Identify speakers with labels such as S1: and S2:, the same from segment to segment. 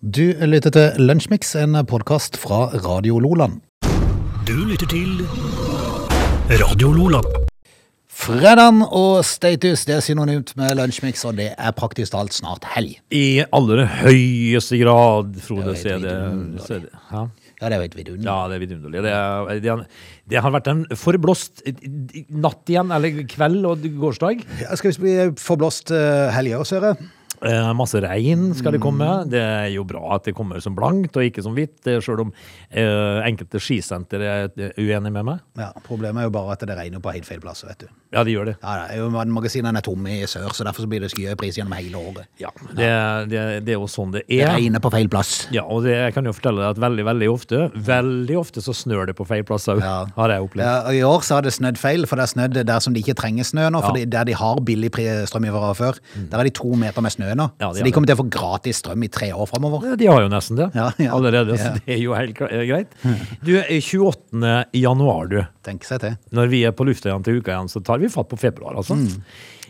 S1: Du lytter til Lunsjmix, en podkast fra Radio Loland.
S2: Du lytter til Radio Lola.
S1: Fredagen og status det er synonymt med Lunsjmix, og det er praktisk talt snart helg.
S3: I aller høyeste grad, Frode,
S1: Det er
S3: så er
S1: helt vidunderlig.
S3: det, så er det ja.
S1: Ja, det er jo helt vidunderlig.
S3: ja, det er vidunderlig. Det, er, det, har, det har vært en forblåst natt igjen, eller kveld og gårsdag.
S4: Ja, Skal vi bli forblåst uh, helga òg, ser jeg?
S3: Eh, masse regn skal det komme. Det er jo bra at det kommer som blankt og ikke som hvitt, eh, sjøl om eh, enkelte skisenter er eh, uenig med meg.
S4: Ja, problemet er jo bare at det regner på helt feil plass. vet du.
S3: Ja, de gjør det.
S4: Ja, det er jo, Magasinene er tomme i sør, så derfor så blir det skyhøy pris gjennom hele året.
S3: Ja, det, det, det er jo sånn det
S4: Det
S3: er.
S4: regner på feil plass.
S3: Ja, og det, jeg kan jo fortelle deg at veldig, veldig ofte Veldig ofte så snør det på feil plasser,
S4: Ja.
S3: har jeg opplevd.
S4: Ja, og I år så har det snødd feil, for det har snødd der som de ikke trenger snø nå. For
S3: Ja. Mm.
S4: de- der de har billig pri- strøm fra før, der har de to meter med snø nå.
S3: Ja,
S4: så
S3: de har
S4: de
S3: det.
S4: kommer til å få gratis strøm i tre år framover.
S3: Ja, De har jo nesten det
S4: Ja, ja.
S3: allerede, så
S4: Ja.
S3: det er jo helt gre- eh, greit. Du, eh, 28. januar, du.
S4: Tenk seg til.
S3: Når vi er på lufta igjen til uka igjen, så tar vi fatt på februar, altså.
S4: Mm.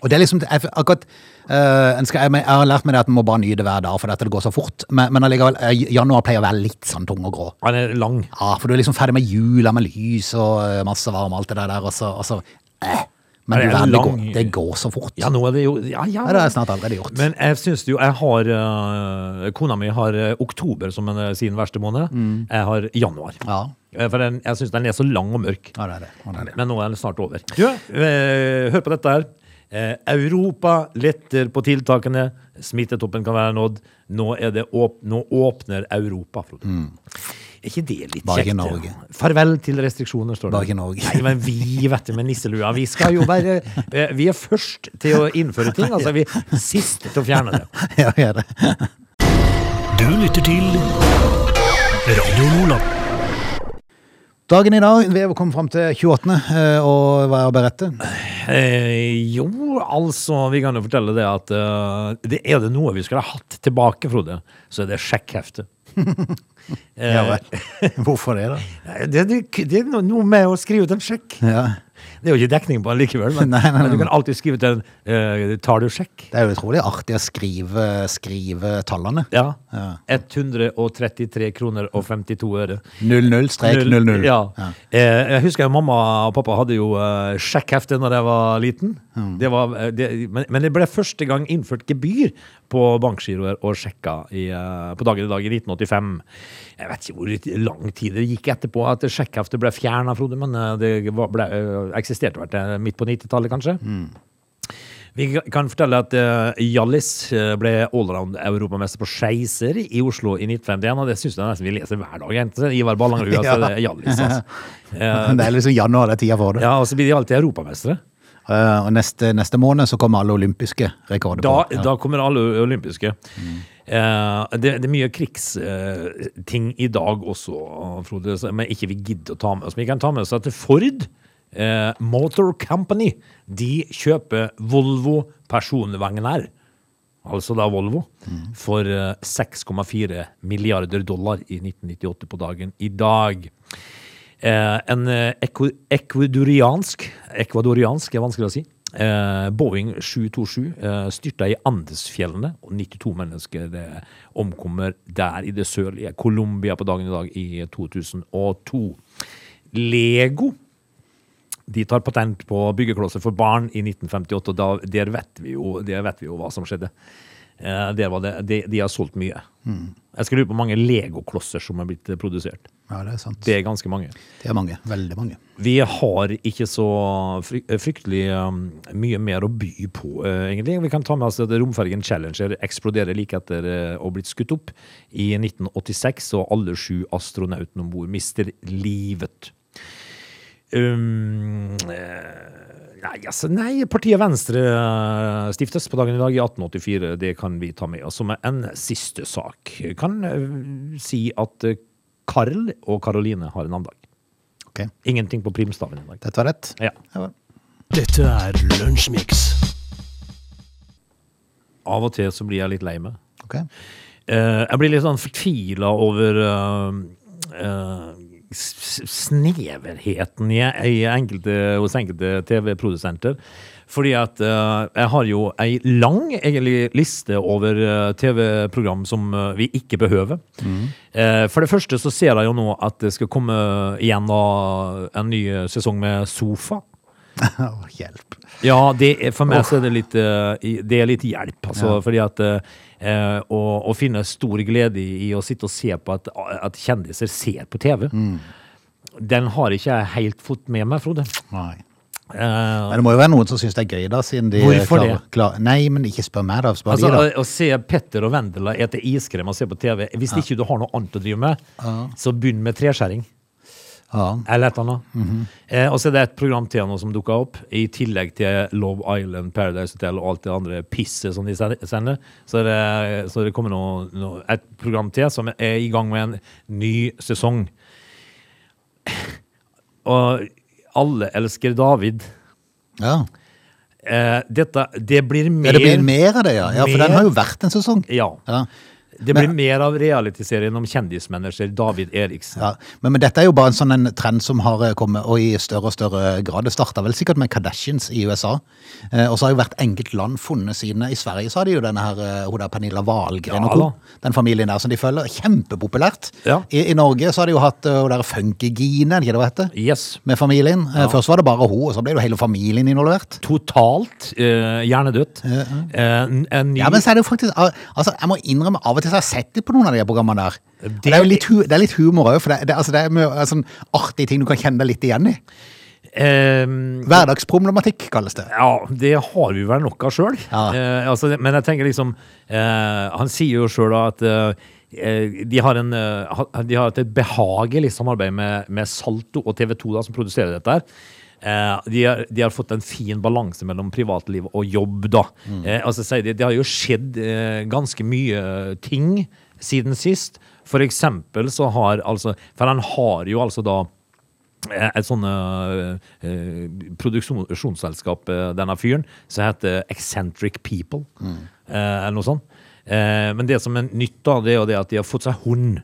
S4: Og det er liksom, jeg, akkurat, eh, en skal, jeg, men jeg har lært meg det at en må bare nyte hver dag, for dette det går så fort. Men, men allikevel, eh, januar pleier å være litt sånn tung og grå.
S3: Han er lang.
S4: Ja, for du er liksom ferdig med jula med lys og eh, masse varme og alt det der, og så, og så eh. Men
S3: Er
S4: du,
S3: det
S4: verden, det,
S3: lang-
S4: går, det går så fort.
S3: Ja, nå er det jo Ja, ja.
S4: Ja, det har jeg snart allerede gjort.
S3: Men jeg syns jo Jeg har eh, Kona mi har eh, oktober som en, eh, sin verste måned.
S4: Mm.
S3: Jeg har januar.
S4: Ja,
S3: Eh, For den, jeg syns den er så lang og mørk.
S4: ja, det er det. Ja, det, er det.
S3: Men nå er den snart over. Du, eh, hør på dette her. Eh, Europa letter på tiltakene. Smittetoppen kan være nådd. Nå, er det åp nå åpner Europa, Frode. Er ikke det litt
S4: Mm. Bare ikke
S3: kjekt?
S4: Norge.
S3: ja? Farvel til restriksjoner, står det.
S4: Bare ikke Norge.
S3: Nei, men vi, vet du, med nisselua. Vi skal jo være eh, Vi er først til å innføre ting. Altså, vi er sist til å fjerne det.
S4: Ja, det, er det.
S2: Du lytter til Radio Lola.
S4: Dagen i dag, vi er kommet frem til 28. eh, Og hva er å berette?
S3: Eh, jo, altså, vi kan jo fortelle det at eh, det er det noe vi skulle ha hatt tilbake, Frode, så er det sjekkheftet. Eh,
S4: Ja, vel. Hvorfor det da?
S3: det, det, det er no- noe med å skrive ut en sjekk.
S4: Ja,
S3: Det er jo ikke dekning på den likevel, men,
S4: Nei, nei, nei.
S3: men du kan alltid skrive ut en eh, Tar du sjekk?
S4: det er jo utrolig artig å skrive, skrive tallene.
S3: Ja.
S4: Ja.
S3: 133 kroner og 52 øre.
S4: 00 strek 00.
S3: Ja.
S4: Ja.
S3: Eh, jeg husker jo mamma og pappa hadde jo eh, sjekkhefte når jeg var liten.
S4: Mm.
S3: Det var, eh, det, men, men det ble første gang innført gebyr på bankgiroer og sjekka i, eh, på dagen i dag i 1985. Jeg vet ikke hvor lang tid det gikk etterpå at sjekkheftet ble fjerna, Frode, men eh, det var, ble, eh, eksisterte vel til midt på 90-tallet, kanskje.
S4: Mm.
S3: Vi kan fortelle at eh, Hjallis eh, ble allround-europamester på skeiser i Oslo i 1951, og det syns jeg nesten vi leser hver dag. Enten Ivar Ballangrud
S4: Ja.
S3: eller Hjallis. Altså. Eh,
S4: Men Det er liksom januar, det er tida for det.
S3: ja, og så blir de alltid europamestere.
S4: Eh, Og neste, neste måned så kommer alle olympiske rekorder
S3: Da,
S4: på. Ja. Mm.
S3: da kommer alle ø- olympiske. Eh, det, det er mye krigsting i dag også, Frode, så- men ikke vi gidder å ta med oss. Men vi kan ta med oss at Ford eh, Motor Company de kjøper Volvo personvogner, altså da Volvo,
S4: Mm.
S3: for eh, 6,4 milliarder dollar i 1998 på dagen i dag. Eh, en eh, eko- ekvadoriansk Ekvadoriansk er vanskelig å si. Eh, Boeing 727 eh, styrta i Andesfjellene, og 92 mennesker eh, omkommer der i det sørlige Colombia på dagen i dag i 2002. Lego de tar patent på byggeklosser for barn i 1958, og da, der, vet vi jo, der vet vi jo hva som skjedde. Eh, der var det, de, de har solgt mye. Jeg skal lure på hvor mange legoklosser som er blitt eh, produsert.
S4: Ja, det er sant.
S3: Det er ganske mange.
S4: Det er mange. Veldig mange.
S3: Vi har ikke så fry- fryktelig um, mye mer å by på, eh, egentlig. Vi kan ta med oss at romfergen Challenger eksploderer like etter eh, å ha blitt skutt opp i 1986, og alle sju astronautene om bord mister livet. Um, eh, nei, altså, nei, partiet Venstre eh, stiftes på dagen i dag i 1884. Det kan vi ta med oss som en siste sak. Kan eh, si at eh, Karl og Karoline har en annen dag.
S4: Ok,
S3: Ingenting på primstaven i dag.
S4: dette var rett.
S3: Ja.
S4: Ja vel.
S2: Dette er Lunsjmix.
S3: Av og til så blir jeg litt lei meg.
S4: Ok.
S3: Eh, jeg blir litt sånn fortvila over eh, eh, s- sneverheten i, i enkelte, hos enkelte TV-produsenter. Fordi at eh, jeg har jo ei lang egentlig liste over eh, TV-program som eh, vi ikke behøver. Eh, for det første så ser jeg jo nå at det skal komme igjen da, en ny eh, sesong med Sofa.
S4: Å, hjelp.
S3: Ja, det er, for meg så er det litt, eh, i- det er litt hjelp. Altså, Fordi at eh, eh, å, å finne stor glede i, i å sitte og se på at, at kjendiser ser på TV, den har ikke jeg helt fått med meg, Frode.
S4: Nei.
S3: Eh,
S4: Men det må jo være noen som syns det er gøy, da, siden de
S3: Hvorfor
S4: klarer-
S3: det?
S4: klarer- Nei, men ikke spør meg, da. Spør
S3: altså,
S4: de, da.
S3: å, å se Petter og Vendela ete iskrem og se på TV Hvis ikke du har noe annet å drive med, så begynn med treskjæring.
S4: Ja.
S3: Eller et annet. eh, og så er det et program til nå som dukker opp. I tillegg til Love Island, Paradise Hotel og alt det andre pisset som de sender- sender. Så det, så det kommer noe, noe, et program til som er i gang med en ny sesong. Og alle elsker David.
S4: ja.
S3: Eh, dette, det blir mer
S4: Ja, det blir mer av det, ja. ja for
S3: Mer.
S4: den har jo vært en sesong.
S3: Ja.
S4: Ja.
S3: Det blir
S4: Men-
S3: mer av realityserien om kjendismanager David Eriksen.
S4: Ja. Men, men dette er jo bare en sånn en trend som har eh, kommet, og i større og større grad. Det starta vel sikkert med Kardashians i USA. Eh, og så har jo hvert enkelt land funnet sine. I Sverige så har de jo denne her, eh, hun der Pernilla Wahlgren og
S3: Ja,
S4: co. Den familien der som de følger. Kjempepopulært.
S3: Ja.
S4: I, I Norge så har de jo hatt eh, hun der Funkygine, er det ikke det hun heter?
S3: Yes.
S4: Med familien. Eh, Først var det bare hun, og så ble jo hele familien involvert.
S3: Totalt eh, hjernedødt. Eh, en- en ny
S4: Ja, men så er det jo faktisk al- Altså, jeg må innrømme, av og til så har jeg sett litt på noen av de her programmene der. Og Det, er jo litt, hu- det er litt humor òg, for det, det, altså, det er mye eh, sånn artige ting du kan kjenne deg litt igjen i.
S3: Ehm,
S4: Hverdagsproblematikk kalles det.
S3: ja, det har vi vel nok av sjøl.
S4: Ja.
S3: Eh, altså, det- men jeg tenker liksom eh, Han sier jo sjøl at eh, eh, de har, en, eh, ha- de har hatt et behagelig samarbeid med, med Salto og TV2, da, som produserer dette. her. Eh, de, har, de har fått en fin balanse mellom privatliv og jobb, da.
S4: Mm.
S3: Eh, altså, sier de, det har jo skjedd eh, ganske mye ting siden sist. For eksempel så har altså For han har jo altså da eh, et sånn eh, eh, produksjonsselskap, eh, denne fyren, som heter Eccentric People, eh, eller noe sånt. Eh, men det som er nytt, da, det er jo det at de har fått seg hund.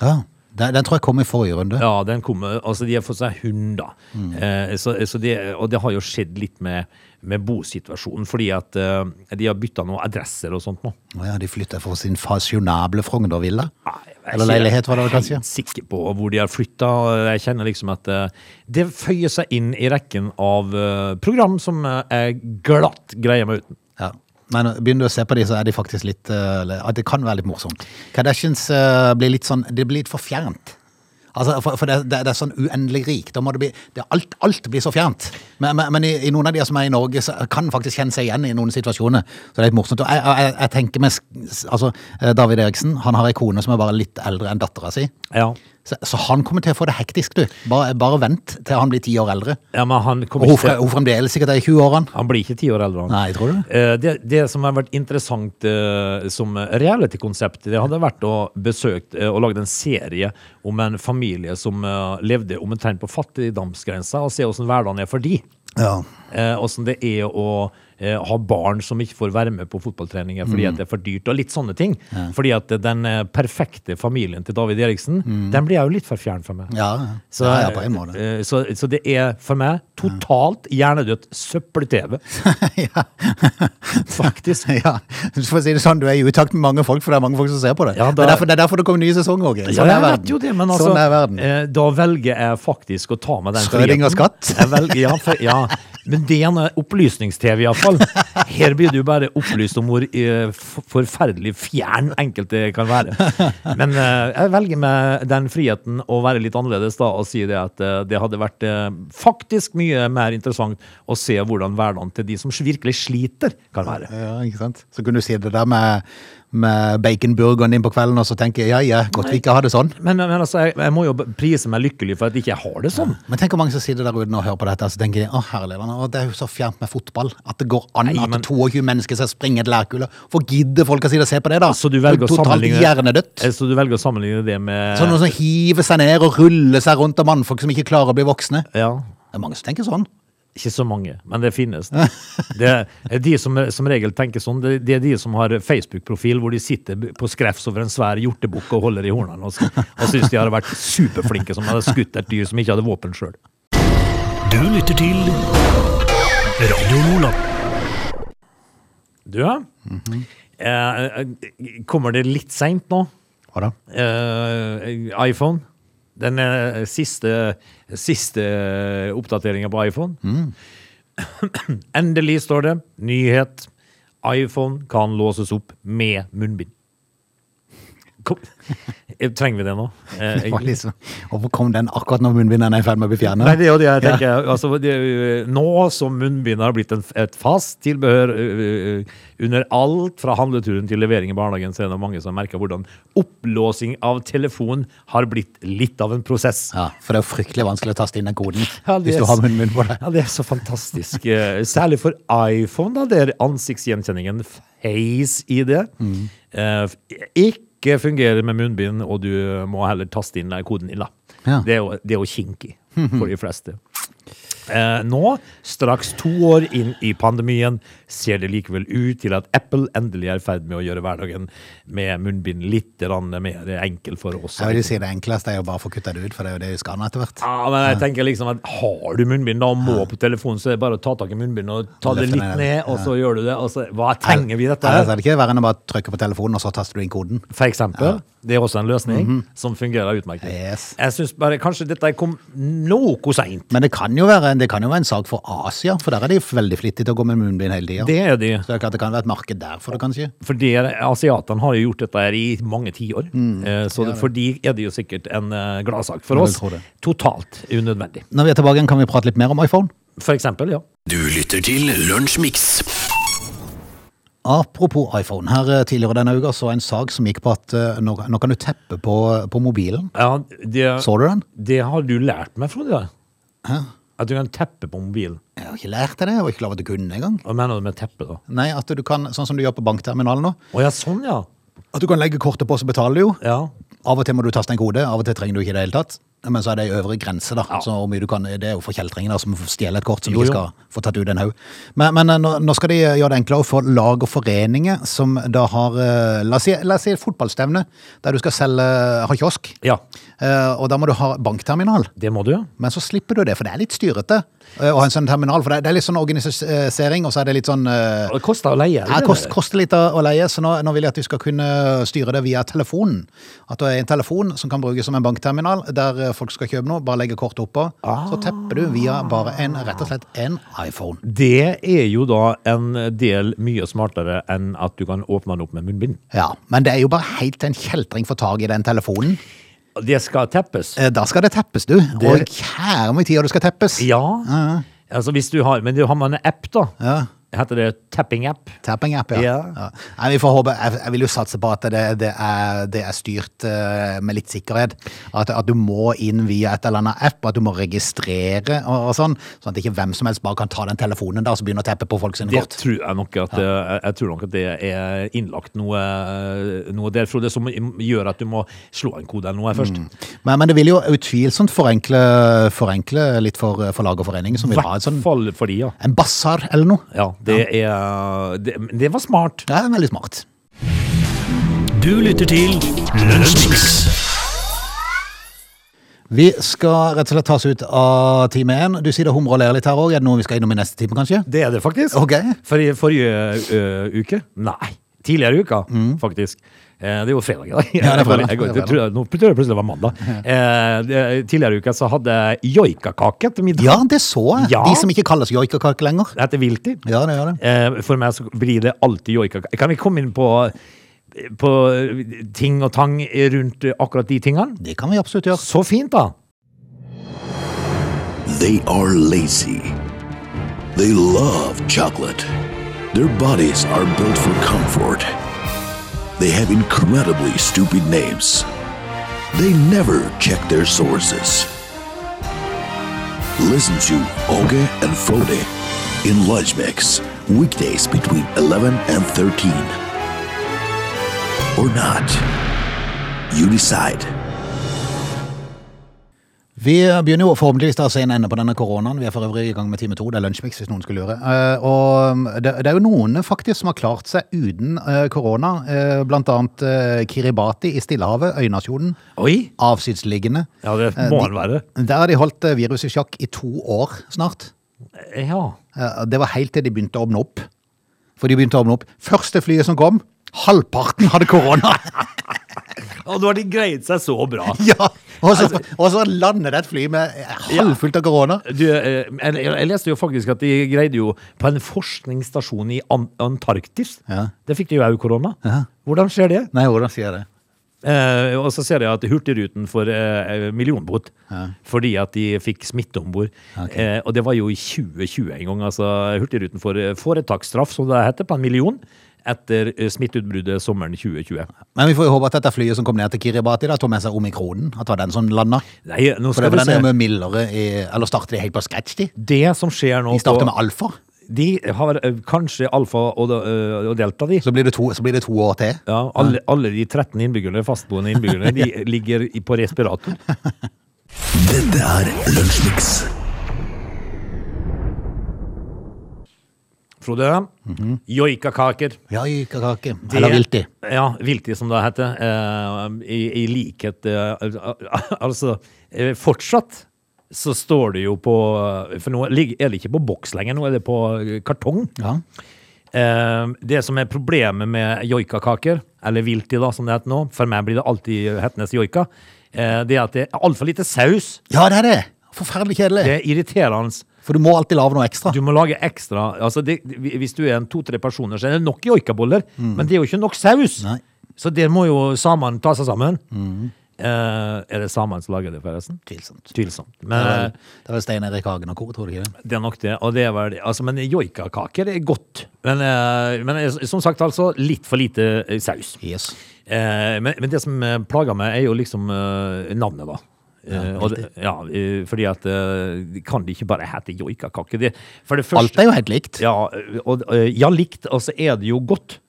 S4: Ja, den, den tror jeg kom i forrige runde.
S3: Ja, den kommer, altså de har fått seg hund da. Eh, så, så det, og det har jo skjedd litt med, med bosituasjonen, fordi at eh, de har byttet noen adresser og sånt nå.
S4: Å ja, de flytta fra sin fasjonable Frogner-villa.
S3: Nei, jeg er
S4: Eller
S3: ikke
S4: leilighet, var det vel kanskje?
S3: Helt sikker på hvor de har flytta. Jeg kjenner liksom at eh, det føyer seg inn i rekken av eh, program som eh, jeg glatt greier meg uten.
S4: Ja. Men begynner du å se på de, så er de faktisk litt eh, le- At det kan være litt morsomt. Kardashians eh, blir litt sånn Det blir litt for fjernt. Altså, for for det, det, det er sånn uendelig rikt. Da må det bli det, alt, alt blir så fjernt. Men, men, men i, i noen av de som er i Norge, så kan en faktisk kjenne seg igjen i noen situasjoner. Så det er litt morsomt. Og jeg, jeg, jeg tenker med s- Altså, eh, David Eriksen han har ei kone som er bare litt eldre enn dattera si.
S3: Ja.
S4: Så, så han kommer til å få det hektisk, du. Bare, bare vent til han blir ti år eldre.
S3: ja, men han
S4: Og
S3: kommer
S4: hun,
S3: ikke
S4: fre- hun fremdeles sikkert er i 20-årene.
S3: han blir ikke ti år eldre. Han.
S4: Nei, tror du det?
S3: Eh, Det, det som har vært interessant eh, som reality-konsept, det hadde vært å besøke eh, og lage en serie om en familie som eh, levde omtrent på fattigdomsgrensa, og se åssen hverdagen er for de.
S4: Ja.
S3: Eh, Åssen det er å eh, ha barn som ikke får være med på fotballtreninger
S4: Mm.
S3: fordi at det er for dyrt, og litt sånne ting. Fordi at eh, den eh, perfekte familien til David Eriksen, den blir jeg jo litt for fjern for meg.
S4: Ja,
S3: Så,
S4: Mm. ja, ja, på en måte.
S3: eh, Så, så det er for meg totalt hjernedødt søppel-TV,
S4: ja.
S3: faktisk.
S4: ja. For å si det sånn, du er i utakt med mange folk, for det er mange folk som ser på det.
S3: Ja,
S4: det,
S3: da-
S4: er derfor, det er derfor det kommer nye sesonger, Åge.
S3: Ja,
S4: Sånn
S3: jeg
S4: er
S3: vet
S4: verden.
S3: jo det, men altså,
S4: sånn er verden.
S3: eh, da velger jeg faktisk å ta med den
S4: Schrödingers katt?
S3: Jeg velger, ja, for, ja, men det er en eh, opplysnings-TV iallfall. Her blir du bare opplyst om hvor eh, f- forferdelig fjern enkelte kan være. Men eh, jeg velger med den friheten å være litt annerledes da, og si det at eh, det hadde vært eh, faktisk mye mer interessant å se hvordan hverdagen til de som virkelig sliter, kan være.
S4: Ja, ikke sant? Så kunne du si det der med, med baconburgeren din på kvelden, og så tenke ja, ja, godt vi ikke har det sånn.
S3: Men, men altså, jeg, jeg må jo prise meg lykkelig for at ikke jeg har det sånn.
S4: Men tenk hvor mange som sitter der uten å høre på dette, og så tenker de å herlig, Lena, å, det er jo så fjernt med fotball. At det går an
S3: Nei, men-
S4: at 22 mennesker skal springe et lærkule. Hvor gidder folk å sitte og se på det, da?
S3: Så du velger, å
S4: Totalt
S3: sammenligne,
S4: hjernedødt.
S3: Eh, så du velger å sammenligne det med
S4: Sånn noen som hiver seg ned og ruller seg rundt av mannfolk som ikke klarer å bli voksne.
S3: ja.
S4: Det er mange som tenker sånn.
S3: Ikke så mange, men det finnes. Det er de som som regel tenker sånn, det det er de som har Facebook-profil hvor de sitter b- på skrefs over en svær hjortebukk og holder i hornene og, s- og syns de hadde vært superflinke som hadde skutt et dyr som ikke hadde våpen sjøl.
S2: Du lytter til Radio Lola.
S3: Du, ja. eh, eh, kommer det litt seint nå?
S4: Hva da?
S3: Eh, iPhone. Den eh, siste, siste oppdateringa på iPhone. Endelig står det nyhet. iPhone kan låses opp med munnbind. Kom. Eh, Trenger vi det nå? Eh,
S4: Det var
S3: egentlig?
S4: liksom, hvorfor kom den akkurat når munnbindene er i ferd med å bli
S3: Nei,
S4: fjernet?
S3: det er jo det jeg tenker. Altså, det, er jo- nå som munnbind har blitt en, et fast tilbehør ø, ø, under alt fra handleturen til levering i barnehagen, så er det mange som merker hvordan opplåsing av telefon har blitt litt av en prosess.
S4: Ja, for det er jo fryktelig vanskelig å taste inn den koden
S3: Ja, det
S4: hvis
S3: er
S4: du
S3: s-
S4: har munnbind på deg.
S3: Ja, det er så fantastisk. eh, Særlig for iPhone, da, der ansiktsgjenkjenningen face-ID eh, f- ikke fungerer med munnbind, og du må heller taste inn eh, koden din. da.
S4: Ja.
S3: Det er jo- det er jo kinkig for de fleste. Eh, nå, straks to år inn i pandemien, ser det likevel ut til at Apple endelig er i ferd med å gjøre hverdagen med munnbind litt grann mer enkel for oss.
S4: Jeg vil jo si det enkleste er jo bare å få kutta det ut, for det er jo det du skal nå etter hvert.
S3: Ja, men jeg tenker liksom at har du munnbind da og må på telefonen, så er det bare å ta tak i munnbindet og ta det
S4: Løfte
S3: litt
S4: ned,
S3: ned, og så gjør du det. Og så, hva trenger vi dette
S4: Ellers
S3: her?
S4: er det ikke verre enn å bare trykke på telefonen, og så taster du inn koden.
S3: For eksempel. Det er også en løsning som fungerer utmerket.
S4: Mhm. Yes.
S3: Jeg syns bare kanskje dette kom noe seint.
S4: Men det kan jo være, det kan jo være en sak for Asia, for der er de veldig flittige til å gå med munnbind hele tida.
S3: Det er de.
S4: Så det er klart det kan være et marked der for det, kanskje.
S3: For det- asiatene har jo gjort dette her i mange tiår.
S4: Mm.
S3: Eh, Så det- for de er det jo sikkert en eh, gladsak. For
S4: Jeg vil
S3: oss
S4: tro det.
S3: totalt unødvendig.
S4: Når vi er tilbake igjen, kan vi prate litt mer om iPhone.
S3: For eksempel, ja.
S2: Du lytter til Lunsjmix.
S4: Apropos iPhone. Her eh, tidligere denne uka så jeg en sak som gikk på at eh, nå, nå kan du teppe på, på mobilen.
S3: ja det,
S4: Så du den?
S3: det har du lært meg, Frode. At du kan teppe på mobilen.
S4: Jeg har ikke lært deg det, jeg var ikke klar over at du kunne engang.
S3: Hva mener du med teppe, da?
S4: Nei, at du kan, sånn som du gjør på bankterminalen nå,
S3: Å ja, sånn ja.
S4: at du kan legge kortet på, så betaler du jo.
S3: Ja,
S4: Av og til må du taste en kode, av og til trenger du ikke det i det hele tatt. Men så er det en øvre grense, da.
S3: Ja.
S4: Så hvor mye du kan, det er jo for kjeltringer da, som stjeler et kort som
S3: Jo,
S4: ikke
S3: jo.
S4: skal få tatt ut en haug. Men, men eh, nå, nå skal de gjøre det enklere for lag og foreninger som da har eh, La oss si, la oss si et fotballstevne der du skal selge ha kiosk.
S3: Ja.
S4: Eh, og da må du ha bankterminal.
S3: det må du. ja.
S4: Men så slipper du det, for det er litt styrete eh, å ha en sånn terminal. For det er, det er litt sånn organisering, og så er det litt sånn eh,
S3: Og Det koster å
S4: ja,
S3: leie. det
S4: det kost,
S3: der.
S4: koster litt å å leie, så nå, nå vil jeg at vi skal kunne styre det via telefonen. At det er en telefon som kan brukes som en bankterminal, der eh, folk skal kjøpe noe, bare legge kortet oppå. Så tepper du via bare en, rett og slett en iPhone.
S3: Det er jo da en del mye smartere enn at du kan åpne den opp med munnbind.
S4: Ja, men det er jo bare helt til en kjeltring får tak i den telefonen.
S3: Det skal teppes.
S4: Eh, Da skal det teppes, du. Og kjære min tid, og det skal teppes.
S3: Ja. Altså hvis du har, Men du har man en app, da.
S4: Ja.
S3: Heter det tapping-app?
S4: Tapping-app, ja.
S3: Ja.
S4: ja. Nei, vi får håpe, jeg, jeg vil jo satse på at det, det, er, det er styrt eh, med litt sikkerhet. At, at du må inn via et eller annet app, at du må registrere og, og sånn. Sånn at ikke hvem som helst bare kan ta den telefonen der og så begynne å teppe på folk sine
S3: Det
S4: kort.
S3: tror jeg, nok at, eh, jeg tror nok at det er innlagt noe, noe der, Frode, som gjør at du må slå en kode eller noe her først.
S4: Men, men det vil jo utvilsomt forenkle, forenkle litt for, for lag og foreninger som
S3: I
S4: vil ha et
S3: hvert
S4: sånn,
S3: fall for de, ja.
S4: en bassar eller noe.
S3: ja det, er, det, det var smart.
S4: Det er veldig smart.
S2: Du lytter til Lunsjmix.
S4: Vi skal rett og slett ta oss ut av time én. Du sier det humrer og ler litt her òg. Er det noe vi skal innom i neste time, kanskje?
S3: Det er det faktisk.
S4: Ok.
S3: For i forrige ø, uke Nei, tidligere i uka, faktisk. Eh, det er jo fredag i dag.
S4: Mm. Ja, det er fredag.
S3: Jeg går- jeg tror- Nå tror jeg plutselig det var mandag. Eh, det- tidligere i uka så hadde jeg joikakake til middag.
S4: Ja, det så jeg.
S3: Ja.
S4: De som ikke kalles joikakake lenger.
S3: Det heter Wilty.
S4: Ja, det gjør det.
S3: Eh, for meg så blir det alltid joikakake. Kan vi komme inn på, på ting og tang rundt akkurat de tingene?
S4: Det kan vi absolutt gjøre.
S3: Så fint, da.
S5: They are lazy. They love chocolate. Their bodies are built for comfort. They have incredibly stupid names. They never check their sources. Listen to Oge and Frode in Lunch Mix, weekdays between 11 and 13. Or not. You decide.
S4: Vi begynner jo forhåpentligvis da å se en ende på denne koronaen. Vi er for øvrig i gang med time to. Det er lunsjmix hvis noen skulle lure. Eh, og um, det, det er jo noen faktisk som har klart seg uten eh, korona. Eh, blant annet eh, Kiribati i Stillehavet, Øynasjonen.
S3: Oi!
S4: Avsidsliggende.
S3: Ja, det
S4: Eh,
S3: må
S4: de-
S3: han være.
S4: Der har de holdt eh, viruset i sjakk i to år snart.
S3: Ja.
S4: Eh, Det var helt til de begynte å åpne opp. For de begynte å åpne opp. Første flyet som kom, halvparten hadde korona!
S3: Og nå har de greid seg så bra.
S4: ja. og, så, og så lander det et fly med eh, halvfullt av korona.
S3: Du, eh, jeg, jeg leste jo faktisk at de greide jo på en forskningsstasjon i An Antarktis.
S4: Ja.
S3: Der fikk de jo òg korona.
S4: Ja.
S3: Hvordan skjer det?
S4: Nei, hvordan sier jeg det?
S3: Eh, og så ser jeg at Hurtigruten får eh, millionbot
S4: Ja.
S3: fordi at de fikk smitte om bord.
S4: Ok.
S3: Eh, og det var jo i 2020 en gang. Altså, Hurtigruten får eh, foretaksstraff, som det heter, på en million etter eh, smitteutbruddet sommeren 2020.
S4: Men vi får jo håpe at dette flyet som kom ned til Kiribati, da, tok med seg omikronen. At det var den som landa.
S3: Nei, nå
S4: For det
S3: skal
S4: var den
S3: vi
S4: er
S3: se.
S4: eh, jo mye mildere i Eller starter de helt på scratch, de?
S3: Det som skjer nå
S4: De starter
S3: på-
S4: med alfa.
S3: De har eh, kanskje alfa og, eh, og delta, de.
S4: Så blir det to, så blir det to år til.
S3: Ja, alle, alle de 13 innbyggerne, fastboende innbyggerne, de ligger i- på respirator.
S5: Dette er Lunsjmix.
S3: Frode, joikakaker.
S4: Joikakake. Mhm. Eller vilti.
S3: Ja, vilti som det heter. Eh, i, I likhet eh, al- Altså, eh, fortsatt så står det jo på For nå lig- er det ikke på boks lenger, nå er det på eh, kartong.
S4: Ja.
S3: Eh, det som er problemet med joikakaker, eller vilti da, som det heter nå, for meg blir det alltid hetnes joika, eh, det er at det er altfor lite saus.
S4: ja, det er det! Forferdelig kjedelig.
S3: Det er irriterende.
S4: For du må alltid lage noe ekstra.
S3: Du må lage ekstra altså det, Hvis du er en to-tre personer, så er det nok joikaboller, men det er jo ikke nok saus.
S4: Mm. Nei. Mm.
S3: Så der må jo samene ta seg sammen. Eh, er det samene som lager det, forresten?
S4: Tvilsomt.
S3: Tvilsomt.
S4: Det
S3: Men eh,
S4: er vel- det er vel Stein Erik Hagen og co., tror du ikke det?
S3: det er nok det. Og det er vel, altså, men joikakaker er godt. Men, eh, men eh, som sagt, altså, litt for lite eh, saus.
S4: Yes.
S3: Eh, men, men det som eh, plager meg, er jo liksom eh, navnet, da. Eh, og det, ja, eh, fordi at eh, Kan de ikke bare hete joikakake? Det, for det første
S4: Alt er jo helt likt.
S3: ja, og, og- ja, likt, og så er det jo godt.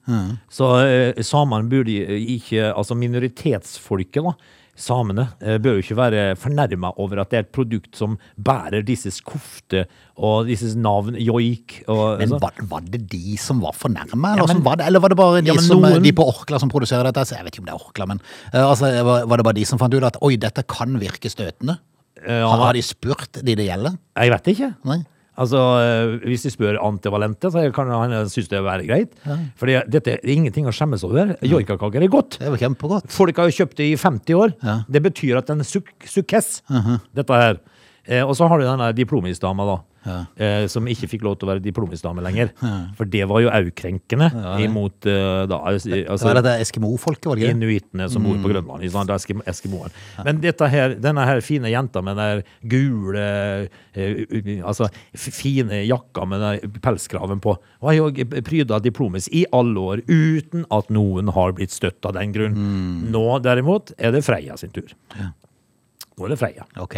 S3: Så eh, samene burde ikke Altså minoritetsfolket, da. Samene eh, bør jo ikke være fornærma over at det er et produkt som bærer disses kofte og disses navn, joik og
S4: Men
S3: sånn.
S4: var, var det de som var fornærma, eller, som var det- eller var det bare de,
S3: Ja, men
S4: som, eh,
S3: noen-
S4: de på Orkla som produserer dette? Altså, jeg vet ikke om det er Orkla, men eh, altså, var, var det bare de som fant ut at oi, dette kan virke støtende?
S3: Eh, ja.
S4: har, har de spurt de det gjelder?
S3: Jeg vet ikke.
S4: Nei.
S3: Altså, eh, Hvis de spør antivalente, så kan han eh, synes det vil være greit. For dette er ingenting å skjemmes over. Joikakaker er godt.
S4: Det er jo kjempegodt.
S3: Folk har jo kjøpt det i 50 år.
S4: Ja. Mhm.
S3: Det betyr at den er suk sukkess, dette her. Eh, og så har du denne diplomisdama, da. Eh, som ikke fikk lov til å være diplomisdame lenger. For det var jo aukrenkende imot eh, da,
S4: Det var
S3: altså,
S4: dette Eskimo-folket, var det ikke? det?
S3: inuittene som bor på Grønland. Ikke sant? Det er Eski- Eskimoen. Men dette her, denne her fine jenta med den der gule eh, u- Altså f- fine jakka med den der pelskraven på, var jo pryda av diplomis i alle år uten at noen har blitt støtt av den grunn. Nå derimot er det Freia sin tur. Nå er det Freia.
S4: Ok.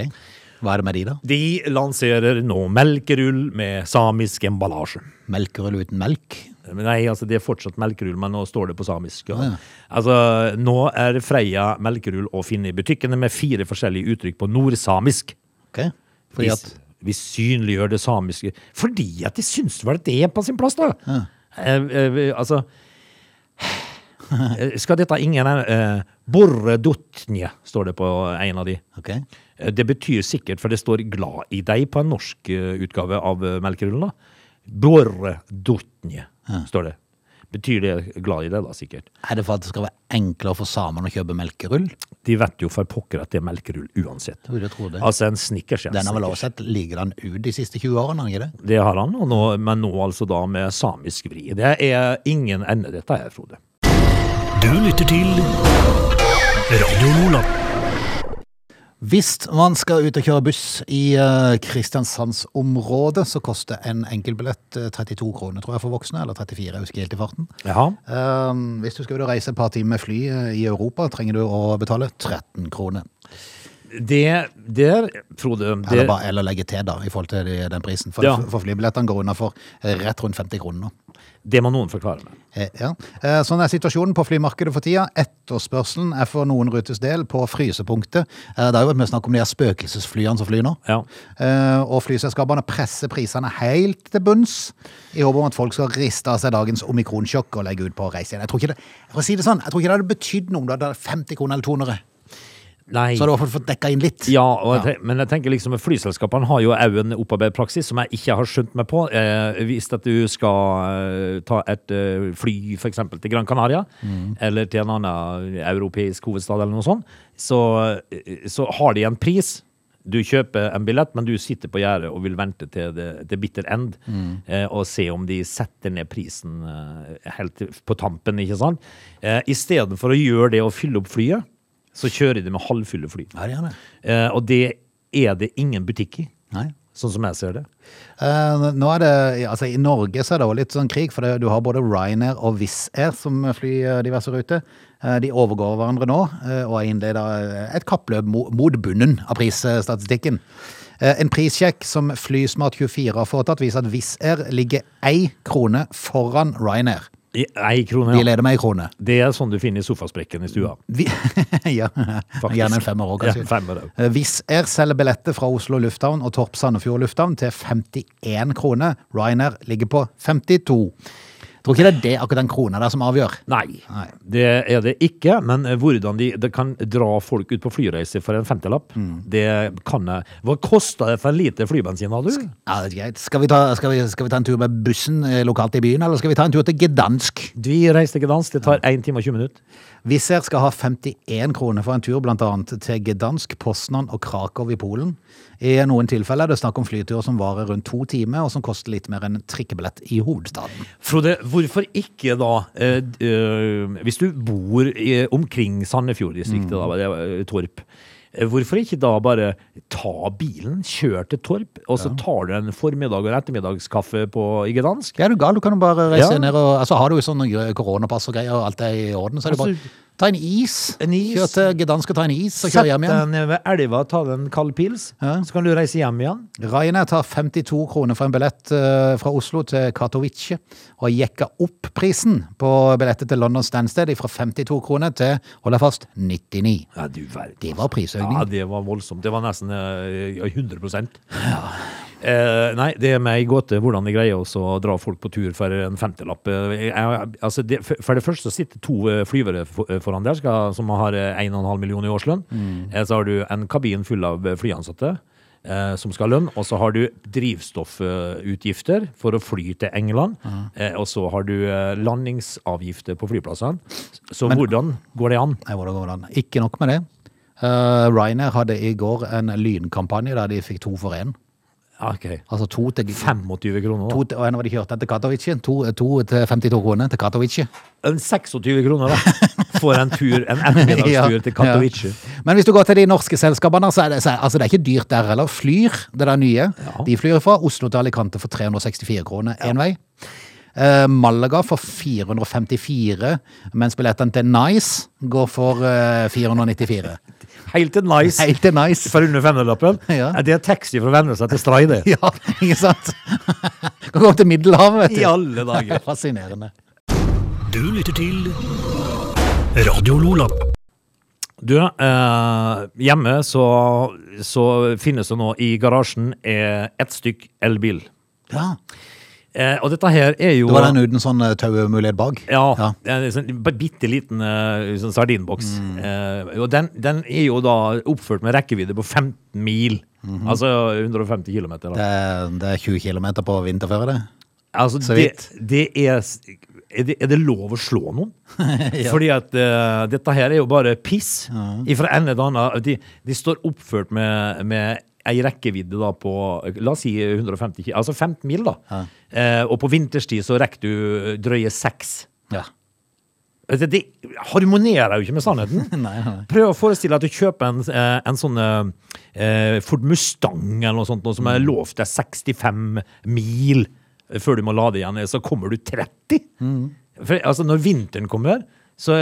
S4: Hva er det med de, da?
S3: De lanserer nå melkerull med samisk emballasje.
S4: Melkerull uten melk?
S3: Men Nei, altså det er fortsatt melkerull, men nå står det på samisk. Ja. Altså, nå er Freia melkerull å finne i butikkene med fire forskjellige uttrykk på nordsamisk.
S4: Ok.
S3: Vi,
S4: Fordi at
S3: vi synliggjør det samiske Fordi at de syns vel det er på sin plass, da! Eh, eh, altså eh, Skal dette ingen eh, Borredotnje, står det på en av de.
S4: Ok.
S3: Eh, Det betyr sikkert, for det står 'glad i deg' på en norsk eh, utgave av eh, melkerullen. Borredotnje, står det. Betyr det 'glad i deg', da, sikkert.
S4: Er det for at det skal være enklere for samene å kjøpe melkerull?
S3: De vet jo for pokker at det er melkerull uansett.
S4: Jo, det tror jeg.
S3: Altså en snickers. ja,
S4: Den har vel
S3: snickers.
S4: også sett likedan ut de siste 20 årene, har den ikke det?
S3: Det har han, og nå, men nå altså da med samisk vri. Det er ingen ende, dette her, Frode.
S2: Du lytter til Radio Nordland.
S4: Hvis man skal ut og kjøre buss i eh, Kristiansandsområdet, så koster en enkeltbillett eh, 32 kroner, tror jeg, for voksne. Eller 34, jeg husker helt i farten.
S3: Jaha.
S4: Eh, hvis du skal ut og reise et par timer med fly eh, i Europa, trenger du å betale 13 kroner.
S3: det der, Frode det,
S4: Eller, bare, eller legge til, da, i forhold til de- den prisen. For,
S3: Ja.
S4: for flybillettene går unna for eh, rett rundt 50 kroner.
S3: det må noen forklare meg.
S4: Eh, Ja. Eh, Sånn er situasjonen på flymarkedet for tida. Etterspørselen er for noen rutes del på frysepunktet. Eh, Det har jo vært mye snakk om de her spøkelsesflyene som flyr nå.
S3: Ja.
S4: Eh, Og flyselskapene presser prisene helt til bunns, i håp om at folk skal riste av seg dagens omikronsjokk og legge ut på reise igjen. Jeg tror ikke det, for å si det sånn, jeg tror ikke det hadde betydd noe om det hadde vært 50 kroner eller 200.
S3: Nei.
S4: Så hadde du i hvert fall fått dekka inn litt.
S3: Ja, og jeg tenk- men jeg tenker liksom at flyselskapene har jo òg en opparbeidet praksis som jeg ikke har skjønt meg på. Eh, hvis at du skal eh, ta et eh, fly f.eks. til Gran Canaria, eller til en annen eh, europeisk hovedstad eller noe sånt, så, eh, så har de en pris. Du kjøper en billett, men du sitter på gjerdet og vil vente til det til bitter end eh, og se om de setter ned prisen eh, helt til- på tampen, ikke sant? Eh, Istedenfor å gjøre det og fylle opp flyet, så kjører de med halvfulle fly.
S4: Ja, det gjør det.
S3: Eh, og det er det ingen butikk i,
S4: Nei.
S3: sånn som jeg ser det.
S4: Eh, nå er det, altså I Norge så er det også litt sånn krig, for det, du har både Ryanair og Wizz Air som flyr eh, diverse ruter. Eh, de overgår hverandre nå eh, og har innleda et kappløp mo- mot bunnen av prisstatistikken. Eh, en prissjekk som Flysmart24 har foretatt, viser at Wizz Air ligger én krone foran Ryanair.
S3: I- Ei krone,
S4: De Mm.
S3: ja.
S4: leder med ei krone.
S3: Det er sånn du finner i sofasprekken i stua.
S4: Vi, ja, gjerne en femmer òg, kanskje.
S3: Ja, femmer også.
S4: Eh, Wizz Air selger billetter fra Oslo lufthavn og Torp Sandefjord lufthavn til 51 kroner. Ryanair ligger på 52. Tror ikke det er det akkurat den krona der som avgjør.
S3: Nei,
S4: Nei.
S3: det er det ikke. Men eh, hvordan de, det kan dra folk ut på flyreise for en femtelapp,
S4: Mm.
S3: det kan jeg. Hva kosta det for en liter flybensin, har du?
S4: Ja, det er greit. Skal vi, ta, skal, vi, skal vi ta en tur med bussen eh, lokalt i byen, eller skal vi ta en tur til Gdansk?
S3: Vi reiser til Gdansk, det tar 1 time og 20 minutter.
S4: Wizz Air skal ha 51 kroner for en tur blant annet til Gdansk, Poznan og Krakow i Polen. I noen tilfeller er det snakk om flyturer som varer rundt to timer, og som koster litt mer enn trikkebillett i hovedstaden.
S3: Frode, hvorfor ikke da, eh, d- eh, hvis du bor i, omkring
S4: Mm.
S3: Sandefjord-distriktet, da, det er, eh, Torp, eh, hvorfor ikke da bare ta bilen, kjør til Torp, og så tar du en formiddag og en ettermiddagskaffe på, i Gdansk?
S4: Ja, er du gal? Du kan jo bare reise
S3: Ja.
S4: ned og altså, Har du jo sånn koronapass og greier, og alt er i orden, så er det
S3: Altså,
S4: bare Ta en is.
S3: en is.
S4: Kjør til Gdansk og ta en is, og
S3: Sett
S4: kjør hjem igjen.
S3: deg ned ved elva, ta deg en kald pils, så kan du reise hjem igjen.
S4: Ryanair tar 52 kroner for en billett eh, fra Oslo til Katowice, og jekka opp prisen på billetter til London Stansted fra 52 kroner til, hold deg fast, 99.
S3: Ja, du verden.
S4: Det var prisøkning.
S3: Ja, det var voldsomt. Det var nesten eh, ja, 100 Eh, nei, det er meg i gåte hvordan de greier også å dra folk på tur for en femtelapp. Eh, jeg- altså det, for- for det første sitter to eh, flyvere for- eh, foran der skal, som har eh, 1,5 millioner i årslønn. Eh, Så har du en kabin full av eh, flyansatte eh, som skal ha lønn. Og så har du drivstoffutgifter for å fly til England. Eh, og så har du eh, landingsavgifter på flyplassene. Så hvordan går det an?
S4: Nei, hvordan går det an? Ikke nok med det. Eh, Ryanair hadde i går en lynkampanje der de fikk to for én.
S3: Ok.
S4: Altså to til
S3: 25 kroner. da.
S4: To, til- og en var de kjørt ned til Katowice. To, to til 52 kroner til Katowice.
S3: En 26 kroner da for en tur, en ettermiddagstur
S4: Ja,
S3: til Katowice.
S4: ja. Men hvis du går til de norske selskapene, så er det, så er, altså det er ikke dyrt der heller. Flyr, det der nye. De flyr fra Oslo til Alicante for 364 kroner én vei. Eh, Malaga for 454, mens billettene til Nice går for eh, 494.
S3: Helt til nice
S4: Helt til Nice.
S3: for under femmerlappen.
S4: Ja.
S3: Det er taxi fra Vennesla til Stray, det.
S4: Ja, ikke sant? Kan gå opp til Middelhavet, vet du.
S3: I alle dager.
S4: Fascinerende.
S2: Du lytter til Radio Lola.
S3: Du, eh, hjemme så, så finnes det nå i garasjen eh, ett stykk elbil.
S4: Ja.
S3: Eh, og dette her er jo
S4: Det var den uten sånn eh, tauemulighet bak?
S3: Ja. En sånn bitte liten eh, sånn sardinboks.
S4: Mm.
S3: Eh, og den, den er jo da oppført med rekkevidde på 15 mil.
S4: Mhm.
S3: Altså 150 km. Da.
S4: Det, er, det er 20 km på vinterføre, det.
S3: Altså,
S4: Så
S3: det, det er s- er det, er det lov å slå noen? Fordi at eh, dette her er jo bare piss ifra ende til annen. De, de står oppført med, med ei rekkevidde da på la oss si 150 km, altså 15 mil. da. Eh, og på vinterstid så rekker du eh, drøye seks.
S4: Ja.
S3: Det, det harmonerer jo ikke med sannheten. Prøv å forestille deg at du kjøper en, eh, en sånn eh, Ford Mustang eller noe sånt, noe som er lovt deg 65 mil før du må lade igjen, så kommer du 30. For, altså, når vinteren kommer, så,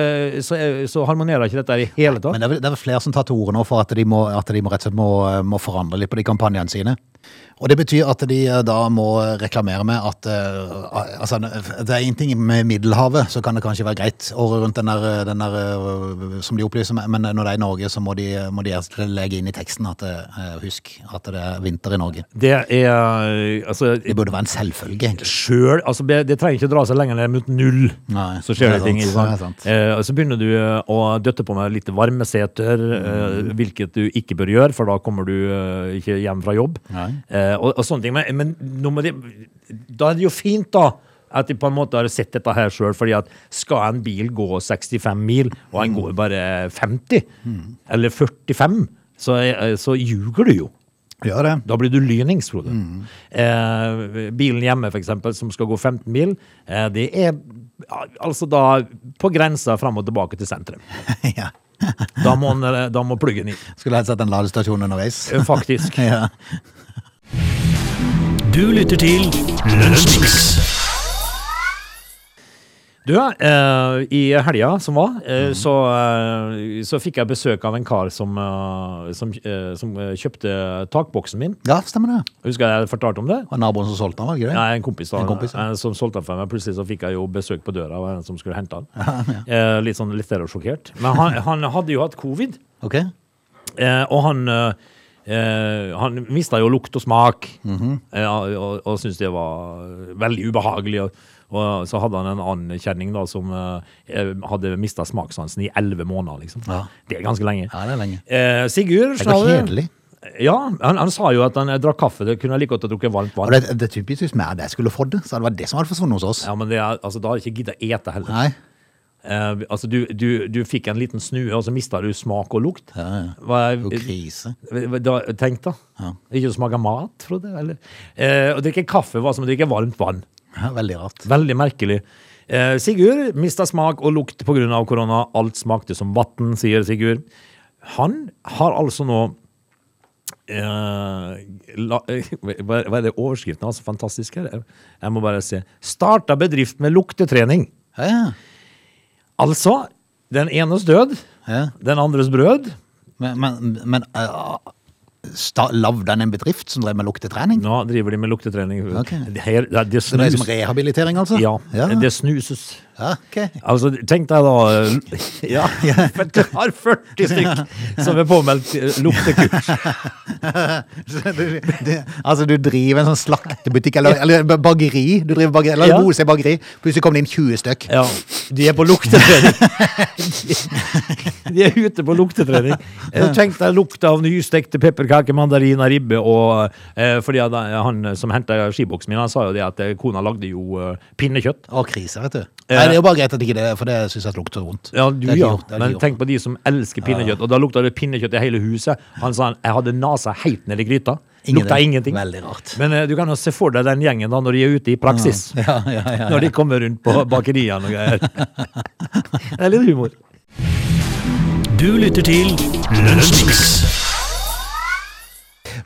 S3: så, eh, så harmonerer ikke dette i hele tatt.
S4: Men det er, vel, det er vel flere som tar til orde nå for at de, må, at de må rett og slett må, må forandre litt på de kampanjene sine. Og det betyr at de eh, da må reklamere med at eh, altså, Det er én ting med Middelhavet, så kan det kanskje være greit året rundt den der, den der eh, som de opplyser, med, men når det er i Norge, så må de, må de rett og slett legge inn i teksten at eh, husk at det er vinter i Norge.
S3: Det er eh, altså
S4: Det burde være en selvfølge, egentlig.
S3: sjøl altså, be- Det trenger ikke dra seg lenger ned mot null,
S4: Nei,
S3: så skjer
S4: det er
S3: det ting.
S4: sant,
S3: ikke sant?
S4: det er sant.
S3: Eh, og så begynner du eh, å døtte på med litt varmeseter,
S4: Mm.
S3: eh, hvilket du ikke bør gjøre, for da kommer du eh, ikke hjem fra jobb.
S4: Nei.
S3: Eh, og, og sånne ting. Men, men nå må de, da er det jo fint, da. At de på en måte har sett dette her sjøl. fordi at skal en bil gå 65 mil, og en
S4: Mm.
S3: går bare 50, eller 45, så, eh, så ljuger du jo.
S4: Gjør det.
S3: Da blir du lynings, Frode. Eh, bilen hjemme, for eksempel, som skal gå 15 mil, eh, det er ja, altså da på grensa fram og tilbake til sentrum.
S4: ja.
S3: Da må, den, eh, da må pluggen i,
S4: Skulle helst hatt en ladestasjon underveis.
S3: eh, faktisk.
S4: ja.
S2: Du lytter til Lunsjmix.
S3: Du, eh, i helga som var, eh, så, eh, så fikk jeg besøk av en kar som, eh, som, eh, som eh, kjøpte takboksen min.
S4: ja, stemmer det.
S3: Husker jeg jeg fortalte om det?
S4: Og naboen som solgte den, var det ikke det?
S3: Nei, en kompis, da,
S4: En kompis, ja.
S3: eh, som solgte den for meg. Plutselig så fikk jeg jo besøk på døra av en som skulle hente den. Eh, litt sånn litt der og sjokkert. Men han, han hadde jo hatt covid,
S4: Ok.
S3: eh, og han eh, eh, han mista jo lukt og smak,
S4: Mhm.
S3: eh, og, og, og syntes det var veldig ubehagelig. Og, og så hadde han en annen kjenning da, som eh, hadde mista smakssansen i elleve måneder. liksom.
S4: Ja.
S3: Det er ganske lenge.
S4: Ja, det er lenge.
S3: Eh, Sigurd
S4: Det går
S3: Slave-
S4: kjedelig.
S3: Ja, han, han sa jo at han eh, drakk kaffe. Det kunne jeg like godt ha drukket varmt vann.
S4: Og det, det er typisk hvis vi hadde skulle fått det, så hadde det vært det som hadde forsvunnet hos oss.
S3: Ja, men det er, altså, Da hadde jeg ikke giddet å ete heller.
S4: Nei.
S3: Eh, altså, du, du, du fikk en liten snue, og så mista du smak og lukt.
S4: Ja, ja.
S3: Hva-
S4: Jo, krise.
S3: Hva- da, tenk, da.
S4: Ja.
S3: Ikke å smake mat, Frode. Eller? Eh, å drikke kaffe var som å drikke varmt vann.
S4: Ja, veldig rart.
S3: Veldig merkelig. Eh, Sigurd mista smak og lukt pga. korona. Alt smakte som vann, sier Sigurd. Han har altså nå eh, la, hva, hva er det overskriften hans? Fantastisk her. Jeg- Jeg må bare se. Starta bedrift med luktetrening.
S4: Ja, ja.
S3: Altså, den enes død,
S4: Ja.
S3: den andres brød.
S4: Men, men, men uh, sta, lagde han en bedrift som drev med luktetrening?
S3: Nå driver de med luktetrening.
S4: Ok.
S3: Det, her, det, det
S4: Så det er som
S3: snus.
S4: rehabilitering, altså?
S3: Ja,
S4: ja.
S3: det snuses.
S4: ja ok.
S3: Altså, tenk deg da Ja, for du har 40 stykk som er påmeldt eh, luktekurs.
S4: Så du, du, altså, du driver en sånn slaktebutikk, eller, eller b- bakeri. Du driver bakeri, eller
S3: Ja.
S4: Mose bakeri. Plutselig kom det inn 20 stykk.
S3: Ja, de er på luktetrening. De, de er ute på luktetrening. Eh, Tenk deg lukta av nystekte pepperkaker, mandariner, ribbe og eh, Fordi at han som henta skiboksen min, han sa jo det at eh, kona lagde jo eh, pinnekjøtt.
S4: Å, krise, vet du. Nei, det er jo bare greit at ikke det, for det syns jeg lukter vondt.
S3: Ja, du
S4: Det er ikke
S3: ja,
S4: gjort, det er ikke
S3: men
S4: gjort.
S3: tenk på de som elsker pinnekjøtt. Og da lukta det pinnekjøtt i hele huset. Han sa han, jeg hadde nesa helt ned i gryta.
S4: Ingenting.
S3: Lukta ingenting.
S4: Veldig rart.
S3: Men eh, du kan jo se for deg den gjengen da når de er ute i praksis.
S4: Ja, ja, ja.
S3: Når de kommer rundt på bakeriene og greier. Det er litt humor.
S2: Du lytter til Lunsjmix.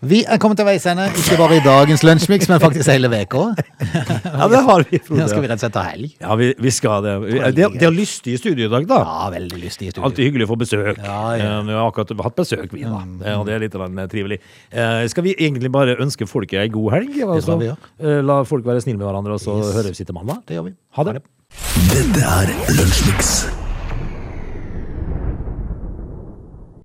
S4: Vi er kommet til veis ende, ikke bare i dagens lunsjmix, men faktisk hele uka.
S3: Ja, det har vi,
S4: Nå skal vi
S3: Frode.
S4: rett og slett ta helg.
S3: Ja, vi, vi skal det. Vi- De, de har lystige studio i dag, da.
S4: Ja, veldig lystig i studio.
S3: Alltid hyggelig å få besøk.
S4: Ja, ja. Mm.
S3: Eh, Vi har akkurat hatt besøk, vi, da. Eh, Og det er litt grann, eh, trivelig. Eh, Skal vi egentlig bare ønske folket ei god helg? og
S4: skal
S3: så,
S4: vi gjøre.
S3: eh, La folk være snille med hverandre, og så høres vi til mandag.
S4: Det gjør vi.
S3: Ha det.
S5: Dette er Lunsjmix.